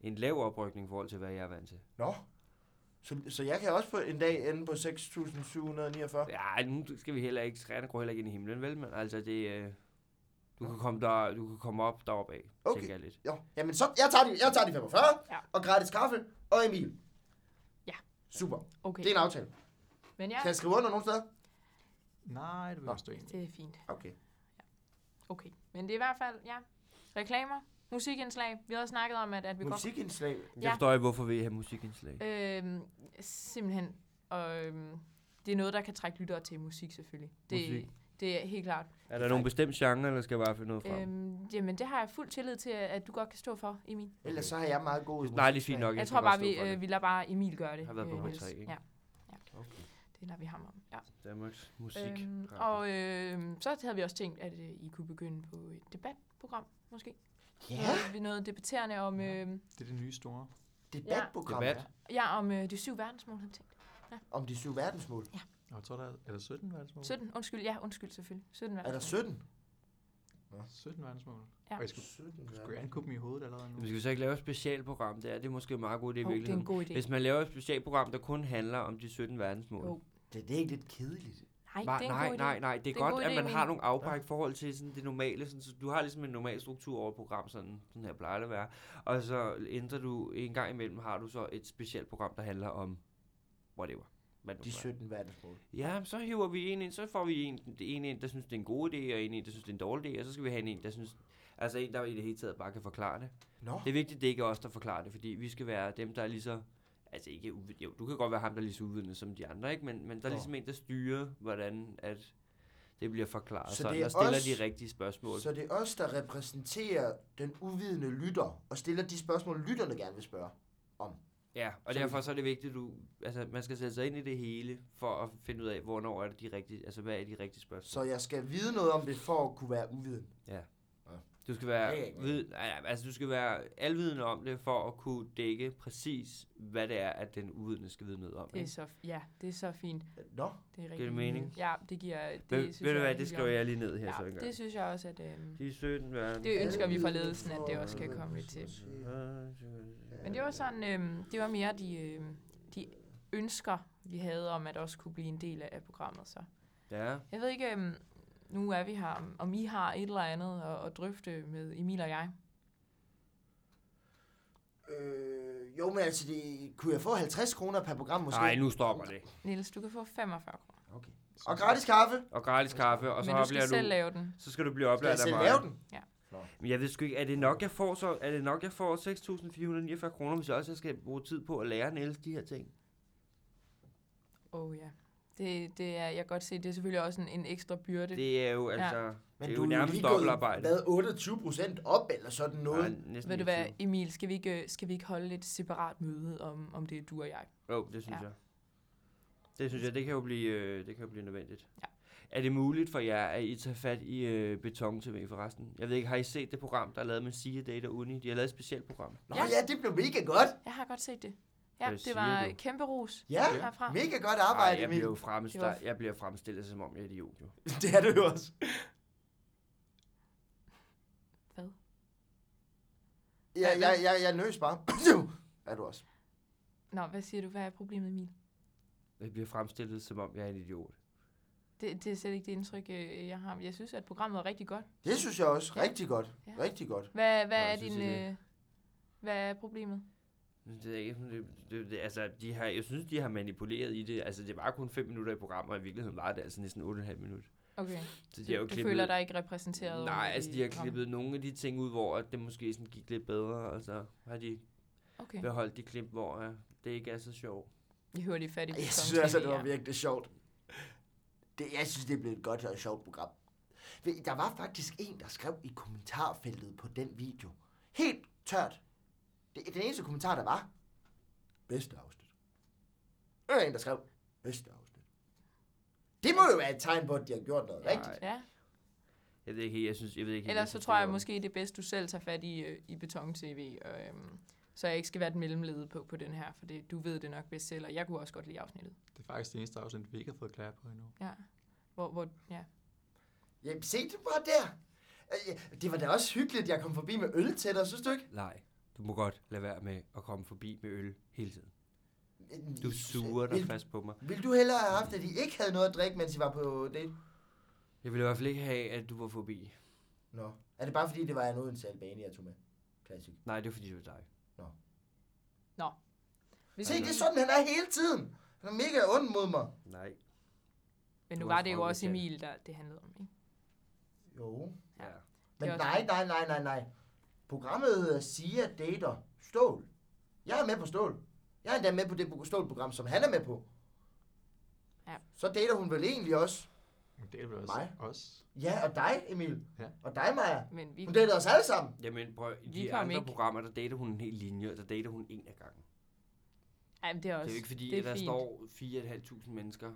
[SPEAKER 4] en lav oprykning i forhold til, hvad jeg er vant til.
[SPEAKER 3] Nå. Så, så jeg kan også på en dag ende på 6.749.
[SPEAKER 4] Ja, nu skal vi heller ikke, træerne går heller ikke ind i himlen, vel? Men altså, det, øh, du, kan komme der, du kan komme op deroppe af,
[SPEAKER 3] Okay.
[SPEAKER 4] okay. tænker jeg lidt.
[SPEAKER 3] Jo, jamen så, jeg tager de, jeg tager de 45,
[SPEAKER 1] Ja.
[SPEAKER 3] og gratis kaffe, og Emil.
[SPEAKER 1] Ja.
[SPEAKER 3] Super,
[SPEAKER 1] Okay,
[SPEAKER 3] det er en aftale.
[SPEAKER 1] men ja,
[SPEAKER 3] Kan jeg skrive under nogen steder?
[SPEAKER 2] Nej, det vil
[SPEAKER 3] Nå.
[SPEAKER 2] jeg stå ind.
[SPEAKER 1] det er fint.
[SPEAKER 3] Okay.
[SPEAKER 1] Okay, men det er i hvert fald, ja, reklamer, musikindslag. Vi har også snakket om, at, at vi godt
[SPEAKER 3] Musikindslag.
[SPEAKER 4] Jeg
[SPEAKER 1] Ja.
[SPEAKER 4] ja. forstår ikke, hvorfor vi har musikindslag.
[SPEAKER 1] Øhm, simpelthen. Og, øhm, det er noget, der kan trække lyttere til musik, selvfølgelig. Det,
[SPEAKER 4] Musik.
[SPEAKER 1] det er helt klart.
[SPEAKER 4] Er der nogen bestemt genre, eller skal jeg bare finde noget frem? Øhm,
[SPEAKER 1] Øhm, jamen, det har jeg fuld tillid til, at du godt kan stå for, Emil.
[SPEAKER 3] Ellers så har jeg meget god
[SPEAKER 4] Nej, det er fint nok.
[SPEAKER 1] Okay, jeg
[SPEAKER 4] skal
[SPEAKER 1] tror bare,
[SPEAKER 4] stå
[SPEAKER 1] vi,
[SPEAKER 4] for det.
[SPEAKER 1] øh, vi lader bare Emil gøre det.
[SPEAKER 4] Har været på
[SPEAKER 1] øh,
[SPEAKER 4] P3,
[SPEAKER 1] Niels.
[SPEAKER 4] ikke?
[SPEAKER 1] Ja. ja.
[SPEAKER 4] Okay.
[SPEAKER 1] Det lader vi ham om. Ja.
[SPEAKER 4] Danmarks musik.
[SPEAKER 1] Øhm,
[SPEAKER 4] Radio.
[SPEAKER 1] og øh, så havde vi også tænkt, at øh, I kunne begynde på et debatprogram, måske.
[SPEAKER 3] Ja,
[SPEAKER 1] Noget- Vi noget debatterende om, øh,
[SPEAKER 2] Det er det nye store.
[SPEAKER 3] debatprogram.
[SPEAKER 4] Debat.
[SPEAKER 3] Ja.
[SPEAKER 1] ja, om øh, de syv verdensmål, havde vi tænkt.
[SPEAKER 3] Om de syv verdensmål.
[SPEAKER 2] Og jeg tror, der er, er der 17
[SPEAKER 4] Oh.
[SPEAKER 2] verdensmål?
[SPEAKER 1] 17, undskyld, ja, undskyld selvfølgelig. 17
[SPEAKER 3] Er der
[SPEAKER 1] verdensmål.
[SPEAKER 3] 17?
[SPEAKER 2] 17 verdensmål.
[SPEAKER 1] Ja.
[SPEAKER 2] Ja. Og jeg skulle,
[SPEAKER 3] 17
[SPEAKER 2] skulle jeg ankuppe dem i hovedet allerede nu.
[SPEAKER 4] Men skal vi så ikke lave et specialprogram der? Det er måske en meget god idé i
[SPEAKER 1] Hov, det er en
[SPEAKER 4] virkeligheden.
[SPEAKER 1] god idé.
[SPEAKER 4] Hvis man laver et specialprogram, der kun handler om de 17 verdensmål.
[SPEAKER 1] Jo,
[SPEAKER 3] Det, det er ikke lidt kedeligt.
[SPEAKER 1] Nej,
[SPEAKER 4] Nej,
[SPEAKER 1] det er en
[SPEAKER 4] nej,
[SPEAKER 1] god idé.
[SPEAKER 4] nej, nej, det er,
[SPEAKER 1] en
[SPEAKER 4] godt,
[SPEAKER 1] god idé,
[SPEAKER 4] at man
[SPEAKER 1] men-
[SPEAKER 4] har nogle afbræk i forhold til sådan det normale. Sådan, så du har ligesom en normal struktur over et program, sådan, sådan her plejer det at være. Og så ændrer du, en gang imellem har du så et specielt program, der handler om whatever. Hvad det
[SPEAKER 3] De
[SPEAKER 4] nu er.
[SPEAKER 3] 17 verdensmål.
[SPEAKER 4] Ja, men så hiver vi en ind, så får vi en, en ind, der synes, det er en god idé, og en ind, der synes, det er en dårlig idé, og så skal vi have en ind, der synes, altså en, der i det hele taget bare kan forklare det.
[SPEAKER 3] Nå,
[SPEAKER 4] Det er vigtigt, det ikke er os, der forklarer det, fordi vi skal være dem, der er lige så... Altså ikke uvidende. Jo, du kan godt være ham, der er lige så uvidende som de andre, ikke? Men, men der er
[SPEAKER 3] Nå.
[SPEAKER 4] ligesom en, der styrer, hvordan at det bliver forklaret.
[SPEAKER 3] Så
[SPEAKER 4] Så
[SPEAKER 3] det er
[SPEAKER 4] der stiller
[SPEAKER 3] os-
[SPEAKER 4] de rigtige spørgsmål.
[SPEAKER 3] så det er os, der repræsenterer den uvidende lytter, og stiller de spørgsmål, lytterne gerne vil spørge.
[SPEAKER 4] Ja, og
[SPEAKER 3] så-
[SPEAKER 4] derfor så er det vigtigt, at du... Altså, man skal sætte sig ind i det hele, for at finde ud af, hvornår er det de rigtige... Altså, hvad er de rigtige spørgsmål?
[SPEAKER 3] Så jeg skal vide noget om det, for at kunne være uviden.
[SPEAKER 4] Du skal
[SPEAKER 3] Det er
[SPEAKER 4] være,
[SPEAKER 3] ikke
[SPEAKER 4] vid, ja, ja, altså, du skal være alvidende om det, for at kunne dække præcis, hvad det er, at den uvidende skal vide noget om.
[SPEAKER 1] Det er
[SPEAKER 4] ikke?
[SPEAKER 1] så, f- ja, det er så fint.
[SPEAKER 3] Nå,
[SPEAKER 1] Det er rigtig
[SPEAKER 4] det mening?
[SPEAKER 1] Ja, det giver... Det
[SPEAKER 4] Ved, ved du
[SPEAKER 1] jeg
[SPEAKER 4] hvad,
[SPEAKER 1] er helt
[SPEAKER 4] det skriver
[SPEAKER 1] i
[SPEAKER 4] jeg lige ned her
[SPEAKER 1] orden.
[SPEAKER 4] så
[SPEAKER 1] Ja,
[SPEAKER 4] engang.
[SPEAKER 1] det synes jeg også, at... Øh,
[SPEAKER 4] De 17 verden.
[SPEAKER 1] det ønsker vi fra ledelsen, at det også skal komme til. Men det var sådan... Øh, det var mere de, øh, de ønsker, vi havde om, at også kunne blive en del af, af programmet. Så
[SPEAKER 4] Ja.
[SPEAKER 1] jeg ved ikke... Øh, nu er vi her, om- om I har et eller andet at, at drøfte med Emil og jeg.
[SPEAKER 3] Øh, jo, men altså, det, kunne jeg få 50 kroner per program måske?
[SPEAKER 4] Nej, nu stopper det.
[SPEAKER 1] Niels, du kan få 45 kroner.
[SPEAKER 3] Okay. Og gratis
[SPEAKER 2] Så-
[SPEAKER 3] kaffe?
[SPEAKER 4] Og gratis kaffe, og så
[SPEAKER 1] Men du skal
[SPEAKER 4] oplever
[SPEAKER 1] selv
[SPEAKER 4] du...
[SPEAKER 1] lave den.
[SPEAKER 4] Så skal du blive
[SPEAKER 3] Skal jeg
[SPEAKER 4] oplevet af
[SPEAKER 3] selv
[SPEAKER 4] mig.
[SPEAKER 3] lave den?
[SPEAKER 4] Men jeg ved sgu ikke, er det nok, jeg får så... Er det nok, jeg får 6.449 kroner, hvis jeg også skal bruge tid på at lære Niels de her ting?
[SPEAKER 1] Åh oh, ja. Det, det er, jeg kan godt se, det er selvfølgelig også en, en ekstra byrde.
[SPEAKER 4] Det er jo altså... Ja.
[SPEAKER 3] Men
[SPEAKER 4] det
[SPEAKER 3] du
[SPEAKER 4] er jo
[SPEAKER 3] er jo
[SPEAKER 4] nærmest
[SPEAKER 3] lige gået
[SPEAKER 4] dobbeltarbejde.
[SPEAKER 3] hvad, 28 procent op eller sådan noget.
[SPEAKER 4] Nej, næsten
[SPEAKER 1] Ved du
[SPEAKER 4] ikke
[SPEAKER 1] hvad,
[SPEAKER 4] tid.
[SPEAKER 1] Emil, skal vi ikke, øh, skal vi ikke holde et separat møde om, om det er du og jeg?
[SPEAKER 4] Jo, det synes
[SPEAKER 1] Ja.
[SPEAKER 4] ja. jeg. Det synes jeg, det kan jo blive, øh, det kan jo blive nødvendigt.
[SPEAKER 1] Ja.
[SPEAKER 4] Er det muligt for jer, at I tager fat i øh, Beton TV forresten? Jeg ved ikke, har I set det program, der er lavet med Sia Data Uni? De har lavet et specielt program.
[SPEAKER 3] Nå ja.
[SPEAKER 1] Ja.
[SPEAKER 3] ja, det blev mega godt.
[SPEAKER 1] Jeg har godt set det. Ja,
[SPEAKER 4] Hvad
[SPEAKER 1] det
[SPEAKER 4] siger
[SPEAKER 1] var
[SPEAKER 4] du?
[SPEAKER 1] kæmpe ros
[SPEAKER 3] Ja,
[SPEAKER 1] herfra.
[SPEAKER 3] mega godt arbejde,
[SPEAKER 4] Ej, jeg,
[SPEAKER 3] Emil.
[SPEAKER 4] bliver jo
[SPEAKER 1] Det var-
[SPEAKER 4] fremstillet, jeg bliver fremstillet, som om jeg er idiot, jo.
[SPEAKER 3] Det er du jo også.
[SPEAKER 1] Hvad?
[SPEAKER 3] Ja, jeg, jeg, jeg nøs bare. er du også.
[SPEAKER 1] Nå, hvad siger du? Hvad er problemet, Emil?
[SPEAKER 4] Jeg bliver fremstillet, som om jeg er en idiot.
[SPEAKER 1] Det, det er slet ikke det indtryk, øh, jeg har. Jeg synes, at programmet er rigtig godt.
[SPEAKER 3] Det synes jeg også. Rigtig godt.
[SPEAKER 1] Ja.
[SPEAKER 3] Rigtig godt.
[SPEAKER 1] Hvad, hvad
[SPEAKER 4] Nå,
[SPEAKER 1] er
[SPEAKER 4] jeg synes
[SPEAKER 1] din...
[SPEAKER 4] ikke.
[SPEAKER 1] Øh, hvad er problemet?
[SPEAKER 4] Men Det er ikke, det, det, det, altså, de har, jeg synes, de har manipuleret i det. Altså, det var kun 5 minutter i programmet, og i virkeligheden var det altså næsten 8,5 minutter.
[SPEAKER 1] Okay.
[SPEAKER 4] Så de har jo
[SPEAKER 1] Du, du
[SPEAKER 4] klippet,
[SPEAKER 1] føler dig ikke repræsenteret?
[SPEAKER 4] Nej,
[SPEAKER 1] i-
[SPEAKER 4] altså de har
[SPEAKER 1] Nå,
[SPEAKER 4] klippet nogle af de ting ud, hvor at det måske sådan gik lidt bedre, og så har de
[SPEAKER 1] Okay.
[SPEAKER 4] beholdt de klip, hvor øh, det ikke er så sjovt.
[SPEAKER 1] Jeg hører de fattige
[SPEAKER 3] Jeg synes altså, det var virkelig sjovt. Det, jeg synes, det blev et godt og sjovt program. Ved I, Der var faktisk en, der skrev i kommentarfeltet på den video. Helt tørt. Det, den eneste kommentar, der var. Bedste afsnit. Der var en, der skrev. Bedste afsnit. Det må jo være et tegn på, at de har gjort noget
[SPEAKER 4] Nej.
[SPEAKER 3] rigtigt.
[SPEAKER 1] Ja.
[SPEAKER 4] Jeg ved ikke helt, jeg synes, jeg ved ikke helt,
[SPEAKER 1] Ellers så
[SPEAKER 4] synes,
[SPEAKER 1] tror
[SPEAKER 4] det
[SPEAKER 1] jeg
[SPEAKER 4] var-
[SPEAKER 1] måske, det er bedst, du selv tager fat i, øh, i beton-tv, og, øhm, så jeg ikke skal være den mellemlede på, på den her, for det, du ved det nok bedst selv, og jeg kunne også godt lide afsnittet.
[SPEAKER 2] Det er faktisk det eneste afsnit, vi ikke har fået klare på endnu.
[SPEAKER 1] Ja. Hvor, hvor, ja.
[SPEAKER 3] Jamen, se det bare der. Øh, Det var da også hyggeligt, at jeg kom forbi med øl til dig, synes du ikke?
[SPEAKER 4] Nej, du må godt lade være med at komme forbi med øl hele tiden. Du
[SPEAKER 3] Øh,
[SPEAKER 4] suger dig
[SPEAKER 3] vil,
[SPEAKER 4] fast på mig.
[SPEAKER 3] Vil du hellere have haft, at de ikke havde noget at drikke, mens I var på date?
[SPEAKER 4] Jeg ville i hvert fald ikke have, at du var forbi.
[SPEAKER 3] Nå. Er det bare fordi, det var en Odense Albania, jeg tog med? Klassik.
[SPEAKER 4] Nej, det var fordi, det var dig.
[SPEAKER 1] Hvis
[SPEAKER 3] Se,
[SPEAKER 1] vi-
[SPEAKER 3] det er sådan, han er hele tiden. Han er mega ond mod mig.
[SPEAKER 4] Nej.
[SPEAKER 1] Men
[SPEAKER 4] Du
[SPEAKER 1] nu
[SPEAKER 4] er
[SPEAKER 1] var det jo
[SPEAKER 4] fra
[SPEAKER 1] også
[SPEAKER 4] Michael.
[SPEAKER 1] Emil, der det handlede om, ikke?
[SPEAKER 3] Jo.
[SPEAKER 1] Ja.
[SPEAKER 4] Ja.
[SPEAKER 3] Men
[SPEAKER 1] Det er også
[SPEAKER 3] nej, nej, nej, nej, nej. Programmet hedder Sia Dater Stål. Jeg er med på Stål. Jeg er endda med på det pro- Stål-program, som han er med på.
[SPEAKER 1] Ja.
[SPEAKER 3] Så dater hun vel egentlig også.
[SPEAKER 2] Men det er vel også
[SPEAKER 3] Mig?
[SPEAKER 2] os.
[SPEAKER 3] Ja, og dig, Emil.
[SPEAKER 2] Ja.
[SPEAKER 3] Og dig, Maja.
[SPEAKER 1] Men vi,
[SPEAKER 3] Hun dater os alle sammen.
[SPEAKER 4] Jamen prøv, i
[SPEAKER 1] Vi
[SPEAKER 4] de
[SPEAKER 1] kom
[SPEAKER 4] andre
[SPEAKER 1] ikke.
[SPEAKER 4] programmer, der dater hun en hel linje, og der dater hun en af gangen.
[SPEAKER 1] Ej, men det er også...
[SPEAKER 4] Det er jo ikke fordi,
[SPEAKER 1] det
[SPEAKER 4] at der
[SPEAKER 1] fint.
[SPEAKER 4] står 4.500 mennesker,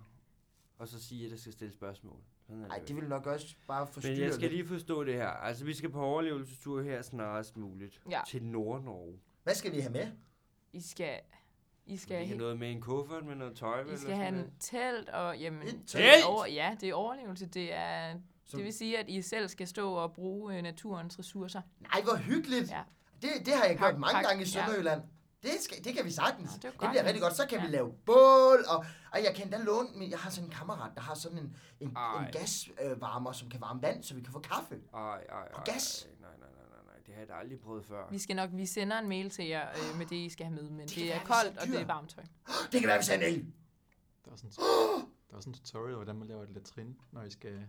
[SPEAKER 4] og så siger, at der skal stille spørgsmål. Sådan er
[SPEAKER 3] Nej,
[SPEAKER 4] jo
[SPEAKER 3] det ville nok også bare forstyrre
[SPEAKER 4] Men jeg skal
[SPEAKER 3] lidt.
[SPEAKER 4] lige forstå det her. Altså, vi skal på overlevelsestur her snarest muligt.
[SPEAKER 1] Ja.
[SPEAKER 4] Til Nord-Norge.
[SPEAKER 3] Hvad skal vi have med?
[SPEAKER 1] I skal... I
[SPEAKER 4] Skal
[SPEAKER 1] skal,
[SPEAKER 4] vi have
[SPEAKER 1] he-
[SPEAKER 4] noget med i en kuffert med noget tøj? vel,
[SPEAKER 1] I
[SPEAKER 4] og
[SPEAKER 1] skal
[SPEAKER 4] sådan
[SPEAKER 1] have
[SPEAKER 4] noget?
[SPEAKER 1] en telt, og jamen...
[SPEAKER 3] Et
[SPEAKER 1] det er
[SPEAKER 3] telt?
[SPEAKER 1] Over, ja, det er overlevelse. Det, er,
[SPEAKER 3] Som-
[SPEAKER 1] det vil sige, at I selv skal stå og bruge øh, naturens ressourcer.
[SPEAKER 3] Nej, hvor hyggeligt.
[SPEAKER 1] Ja.
[SPEAKER 3] Det, det har jeg
[SPEAKER 1] Pak-
[SPEAKER 3] gjort mange
[SPEAKER 1] pak-
[SPEAKER 3] gange
[SPEAKER 1] ja.
[SPEAKER 3] i Sønderjylland. Det, skal, det kan vi sagtens.
[SPEAKER 1] Nå,
[SPEAKER 3] det,
[SPEAKER 1] det er jo
[SPEAKER 3] det
[SPEAKER 1] godt.
[SPEAKER 3] bliver rigtig godt. Så kan ja.
[SPEAKER 1] Ja.
[SPEAKER 3] vi lave bål, og, og jeg kan endda låne... min- Jeg har sådan en kammerat, der har sådan en, en, en
[SPEAKER 4] Ej.
[SPEAKER 3] gasvarmer, som kan varme vand, så vi kan få kaffe.
[SPEAKER 4] Ej, ej, ej.
[SPEAKER 3] Og gas.
[SPEAKER 4] ej, Nej, nej, nej, nej, nej. Det har jeg da aldrig prøvet før.
[SPEAKER 1] Vi skal nok, vi sender en mail til jer øh, med det, I skal have med, men
[SPEAKER 3] Det
[SPEAKER 1] det,
[SPEAKER 3] kan
[SPEAKER 1] er
[SPEAKER 3] være, vi
[SPEAKER 1] koldt,
[SPEAKER 3] ser
[SPEAKER 1] og det
[SPEAKER 3] dyr.
[SPEAKER 1] er varmt tøj.
[SPEAKER 3] Det kan være, vi ser en el.
[SPEAKER 2] Der er sådan, der er sådan en tutorial, hvordan man laver et latrin, når I skal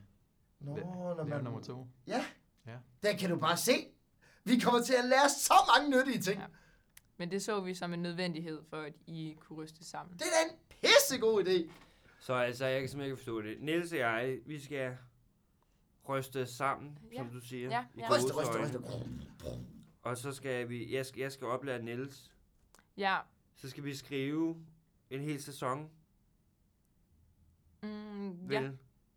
[SPEAKER 3] Nå,
[SPEAKER 2] la-
[SPEAKER 3] når
[SPEAKER 2] lave
[SPEAKER 3] man...
[SPEAKER 2] nummer to.
[SPEAKER 3] Ja.
[SPEAKER 2] Ja.
[SPEAKER 3] Den kan du bare se. Vi kommer til at lære så mange nyttige ting.
[SPEAKER 1] Ja. Men det så vi som en nødvendighed for, at I kunne ryste sammen.
[SPEAKER 3] Det er da en pissegod idé.
[SPEAKER 4] Så altså, jeg kan simpelthen ikke forstå det. Niels og jeg, vi skal ryste sammen,
[SPEAKER 1] Ja.
[SPEAKER 4] som du siger.
[SPEAKER 1] Ja,
[SPEAKER 4] i
[SPEAKER 1] ja.
[SPEAKER 3] Ryste, ryste,
[SPEAKER 4] gåseøjne.
[SPEAKER 3] ryste.
[SPEAKER 4] Og så skal vi, jeg skal, jeg skal oplære Niels.
[SPEAKER 1] Ja,
[SPEAKER 4] Så skal vi skrive en hel sæson,
[SPEAKER 1] mm,
[SPEAKER 4] vel?
[SPEAKER 1] ja.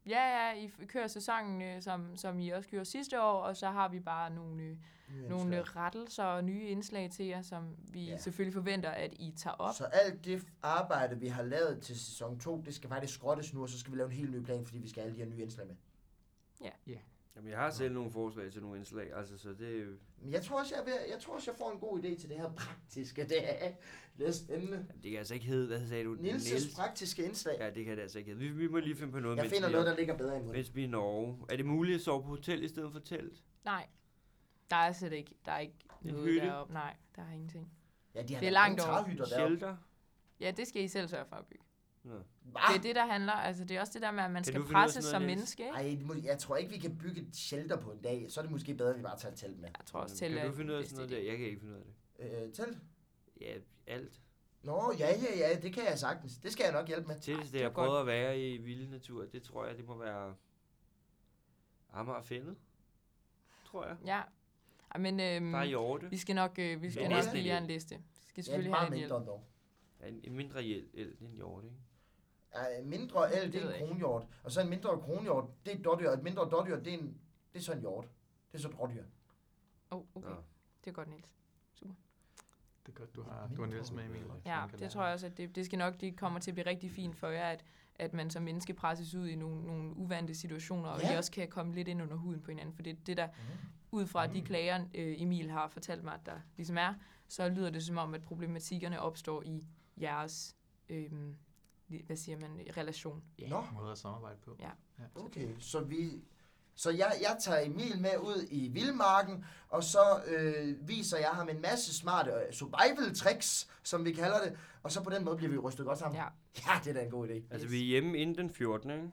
[SPEAKER 1] ja, ja, I f- kører sæsonen, øh, som, som I også gjorde sidste år, og så har vi bare nogle, øh, nogle øh, rettelser og nye indslag til jer, som vi
[SPEAKER 3] Ja.
[SPEAKER 1] ja. selvfølgelig forventer, at I tager op.
[SPEAKER 3] Så alt det arbejde, vi har lavet til sæson 2, det skal faktisk skrottes nu, og så skal vi lave en helt ny plan, fordi vi skal have alle de her nye indslag med.
[SPEAKER 4] Jamen, jeg har selv nogle forslag til nogle indslag, altså, så det,
[SPEAKER 3] Men jeg tror også, jeg, er ved, at- jeg, tror også, jeg får en god idé til det her praktiske. Det er, det er spændende.
[SPEAKER 4] jamen, det kan altså ikke hedde, hvad sagde du?
[SPEAKER 3] Nils' praktiske indslag.
[SPEAKER 4] Ja, det kan det altså ikke hedde. Vi, vi må lige finde på noget,
[SPEAKER 3] Jeg
[SPEAKER 4] mens,
[SPEAKER 3] finder
[SPEAKER 4] vi
[SPEAKER 3] noget,
[SPEAKER 4] er,
[SPEAKER 3] der ligger bedre end mig.
[SPEAKER 4] mens vi er i Norge. Er det muligt at sove på hotel i stedet for telt?
[SPEAKER 1] Nej, der er slet ikke, der er ikke
[SPEAKER 4] En
[SPEAKER 1] noget
[SPEAKER 4] hytte?
[SPEAKER 1] deroppe. Nej, der er ingenting.
[SPEAKER 3] Ja, de har
[SPEAKER 1] Det er
[SPEAKER 3] da
[SPEAKER 1] langt
[SPEAKER 3] mange
[SPEAKER 1] over.
[SPEAKER 3] træhytter deroppe.
[SPEAKER 4] Shelter?
[SPEAKER 1] Ja, det skal I selv sørge for at bygge. Det
[SPEAKER 3] Ah,
[SPEAKER 1] er det, der handler. Altså, det er også det der med, at man
[SPEAKER 4] Kan
[SPEAKER 1] skal
[SPEAKER 4] du finde ud af
[SPEAKER 1] presses
[SPEAKER 4] sådan
[SPEAKER 1] som
[SPEAKER 4] noget, Niels?
[SPEAKER 1] menneske. Ikke?
[SPEAKER 3] ej, det må- jeg tror ikke, vi kan bygge et shelter på en dag. Så er det måske bedre, at vi bare tager et telt med.
[SPEAKER 1] Jeg tror også,
[SPEAKER 4] Jamen,
[SPEAKER 1] til
[SPEAKER 4] Kan du finde ud af sådan noget der? Jeg kan ikke finde ud af det.
[SPEAKER 3] Øh, telt?
[SPEAKER 4] Ja, alt.
[SPEAKER 3] Nå, ja, ja, ja, det kan jeg sagtens. Det skal jeg nok hjælpe med.
[SPEAKER 4] Til det,
[SPEAKER 1] det
[SPEAKER 4] jeg
[SPEAKER 1] var godt.
[SPEAKER 4] prøvede at være i vild natur, det tror jeg, det må være Amager Fællet. Tror jeg.
[SPEAKER 1] Ja, Ej, men øhm,
[SPEAKER 4] Der er Hjorte.
[SPEAKER 1] vi skal nok, øh, vi skal
[SPEAKER 3] En
[SPEAKER 1] nok
[SPEAKER 3] liste.
[SPEAKER 1] give jer en liste. Vi skal
[SPEAKER 3] Ja, det
[SPEAKER 1] selvfølgelig
[SPEAKER 3] er
[SPEAKER 1] have
[SPEAKER 3] meget
[SPEAKER 1] en hjælp.
[SPEAKER 3] mindre dog.
[SPEAKER 4] Ja, En, en mindre hjælp end en Hjorte, ikke?
[SPEAKER 3] Ej, mindre el, det
[SPEAKER 1] Det
[SPEAKER 3] er
[SPEAKER 1] ved
[SPEAKER 3] en
[SPEAKER 1] jeg ikke.
[SPEAKER 3] kronhjort. Og så en mindre kronhjort, det er et dårdyr. Og et mindre dårdyr, det er, en, det er så en hjort. Det er så et rådyr.
[SPEAKER 1] Oh, okay.
[SPEAKER 4] Nå.
[SPEAKER 1] Det er godt, Niels.
[SPEAKER 2] Det er godt, du har, du har Niels med, Emil.
[SPEAKER 1] Ja, det tror jeg også, at det, det skal nok det kommer til at blive rigtig fint for jer, at, at man som menneske presses ud i nogle, nogle uvante situationer, og
[SPEAKER 3] Ja.
[SPEAKER 1] I også kan komme lidt ind under huden på hinanden. For det er det, der,
[SPEAKER 3] Mhm.
[SPEAKER 1] ud fra
[SPEAKER 4] Mm.
[SPEAKER 1] de klager, øh, Emil har fortalt mig, at der ligesom er, så lyder det som om, at problematikkerne opstår i jeres, øh, hvad siger man, relation.
[SPEAKER 3] Nå,
[SPEAKER 2] Måde at samarbejde på.
[SPEAKER 3] okay. Så vi... Så jeg, jeg tager Emil med ud i vildmarken, og så øh, viser jeg ham en masse smarte øh, survival tricks, som vi kalder det. Og så på den måde bliver vi rystet godt sammen.
[SPEAKER 1] Ja.
[SPEAKER 3] ja det er da en god idé.
[SPEAKER 4] Altså,
[SPEAKER 1] Yes.
[SPEAKER 4] vi er hjemme inden den 14. Ikke?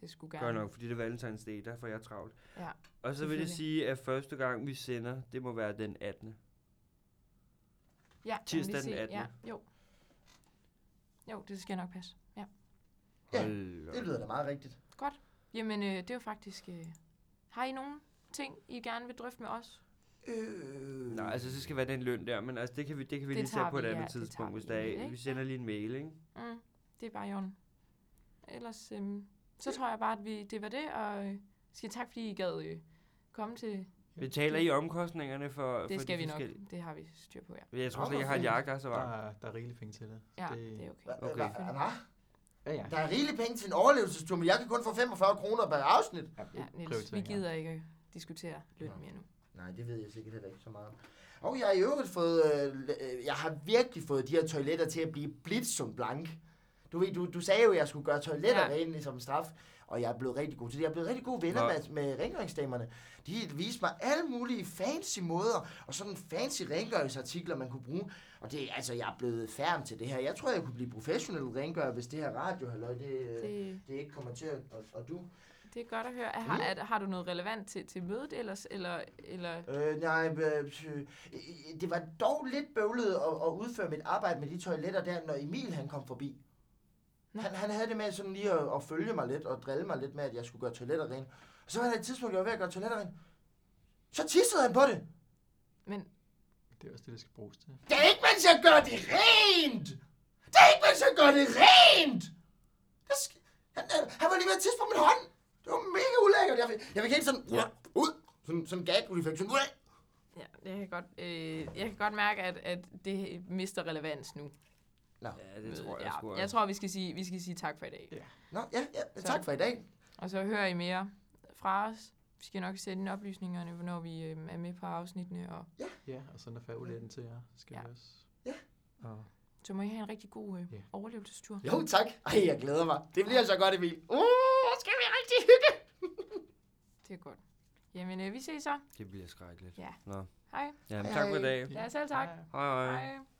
[SPEAKER 1] Det skulle gerne.
[SPEAKER 4] Godt nok, fordi det er Valentinsdag, der får jeg travlt.
[SPEAKER 1] Ja,
[SPEAKER 4] Og så vil jeg
[SPEAKER 1] selvfølgelig.
[SPEAKER 4] sige, at første gang vi sender, det må være den 18.
[SPEAKER 1] Ja, jeg må
[SPEAKER 4] Tirsdag
[SPEAKER 1] lige
[SPEAKER 4] den
[SPEAKER 1] se.
[SPEAKER 4] 18..
[SPEAKER 1] Ja, jo. Jo, det skal nok passe. Ja.
[SPEAKER 3] Ja,
[SPEAKER 4] Hold
[SPEAKER 3] Det
[SPEAKER 4] op.
[SPEAKER 3] lyder da meget rigtigt.
[SPEAKER 1] Jamen, øh, det er jo faktisk... Øh, har I nogen ting, I gerne vil drøfte med os?
[SPEAKER 3] Øh,
[SPEAKER 4] Nej, altså det skal være den løn der, men altså det kan vi, det kan vi
[SPEAKER 1] Det
[SPEAKER 4] lige tage
[SPEAKER 1] tager
[SPEAKER 4] på et
[SPEAKER 1] vi,
[SPEAKER 4] andet
[SPEAKER 1] ja, det tager
[SPEAKER 4] tidspunkt, hvis
[SPEAKER 1] vi
[SPEAKER 4] der
[SPEAKER 1] lige,
[SPEAKER 4] er,
[SPEAKER 1] ikke?
[SPEAKER 4] vi sender lige en mail, ikke?
[SPEAKER 1] Mm, det er bare i orden. Ellers, øh, så tror jeg bare, at vi, det var det, og øh, siger tak, fordi I gad øh, komme til...
[SPEAKER 4] Betaler I omkostningerne for for
[SPEAKER 1] Det skal
[SPEAKER 4] de
[SPEAKER 1] vi nok.
[SPEAKER 4] forskellige-
[SPEAKER 1] Det har vi styr på, ja.
[SPEAKER 4] Jeg tror
[SPEAKER 3] Nå,
[SPEAKER 4] slet ikke, jeg
[SPEAKER 3] hvor
[SPEAKER 4] har en
[SPEAKER 3] fint.
[SPEAKER 4] jakke, der er så
[SPEAKER 2] Der
[SPEAKER 4] varm.
[SPEAKER 2] er, der er rigeligt penge til det. så
[SPEAKER 1] Ja,
[SPEAKER 2] det,
[SPEAKER 1] det er okay.
[SPEAKER 4] Okay.
[SPEAKER 3] Okay. Øh, Hva?
[SPEAKER 2] Ja, ja.
[SPEAKER 3] Der er rigeligt penge til en overlevelsestur, men jeg kan kun få 45 kroner per afsnit.
[SPEAKER 1] Ja, Niels, vi
[SPEAKER 2] prioriteringer.
[SPEAKER 1] gider ikke at diskutere løn
[SPEAKER 3] Nå.
[SPEAKER 1] mere nu.
[SPEAKER 3] Nej, det ved jeg sikkert heller ikke så meget om. Og jeg har i øvrigt fået, øh, øh, jeg har virkelig fået de her toiletter til at blive blidt som blank. Du, ved, du, du sagde jo, at jeg skulle gøre toiletter ja.
[SPEAKER 1] Ja.
[SPEAKER 3] rene som straf, og jeg er blevet rigtig god til det. Jeg er blevet rigtig god venner
[SPEAKER 4] Nå.
[SPEAKER 3] med, med rengøringsdamerne. De viste mig alle mulige fancy måder, og sådan fancy rengøringsartikler, man kunne bruge. Og det, altså, jeg er blevet færm til det her. Jeg tror, jeg kunne blive professionel rengører, hvis det her radio, halløj, det, det,
[SPEAKER 1] Det,
[SPEAKER 3] det ikke kommer til at... Og, og du?
[SPEAKER 1] det er godt at høre. Er, har, er, har du noget relevant til, til mødet ellers? Eller, eller
[SPEAKER 3] Øh, nej, øh, øh, det var dog lidt bøvlet at, at udføre mit arbejde med de toiletter der, når Emil han kom forbi.
[SPEAKER 1] Nå.
[SPEAKER 3] Han, han havde det med sådan lige at, at følge mig lidt og drille mig lidt med, at jeg skulle gøre toiletter rent. Og så var der et tidspunkt, jeg var ved at gøre toiletter rent. Så tissede han på det.
[SPEAKER 1] men
[SPEAKER 2] Det er også det, det skal bruges til.
[SPEAKER 3] Det er ikke, mens jeg gør det rent! Det er ikke, mens jeg gør det rent! Det sk- han, han, han var lige ved at tisse på min hånd. Det var mega ulækkert. Jeg, fik- jeg fik helt sådan ud. Sådan, sådan gag-refleksion.
[SPEAKER 1] ja, jeg, kan godt, øh, jeg kan godt mærke, at, at det mister relevans nu.
[SPEAKER 4] Ja, det tror jeg
[SPEAKER 1] ja,
[SPEAKER 4] sgu
[SPEAKER 1] jeg
[SPEAKER 4] også.
[SPEAKER 1] tror, vi skal, sige, vi skal sige tak for i dag.
[SPEAKER 3] Nå, ja, ja. Tak for i dag.
[SPEAKER 1] Og så hører I mere fra os. Vi skal nok sende ind oplysningerne, hvornår vi øh, er med på afsnittene. Og
[SPEAKER 2] Ja, og så når færgen til jer, skal
[SPEAKER 1] Ja.
[SPEAKER 2] vi også.
[SPEAKER 3] Ja.
[SPEAKER 2] Og
[SPEAKER 1] så må I have en rigtig god øh,
[SPEAKER 2] Ja.
[SPEAKER 1] overlevelsestur.
[SPEAKER 3] Jo, tak. Ej, jeg glæder mig. Det bliver så godt, Emil. Uh, skal vi rigtig hygge.
[SPEAKER 1] Det er godt. Jamen, øh, vi ses så.
[SPEAKER 4] Det bliver skrækkeligt.
[SPEAKER 1] Ja.
[SPEAKER 4] Nå.
[SPEAKER 1] Hej.
[SPEAKER 4] Ja, men
[SPEAKER 3] Hej,
[SPEAKER 4] tak for i
[SPEAKER 3] hej.
[SPEAKER 4] dag.
[SPEAKER 1] Ja, selv tak.
[SPEAKER 2] Ja.
[SPEAKER 4] Hej hej.
[SPEAKER 1] Hej.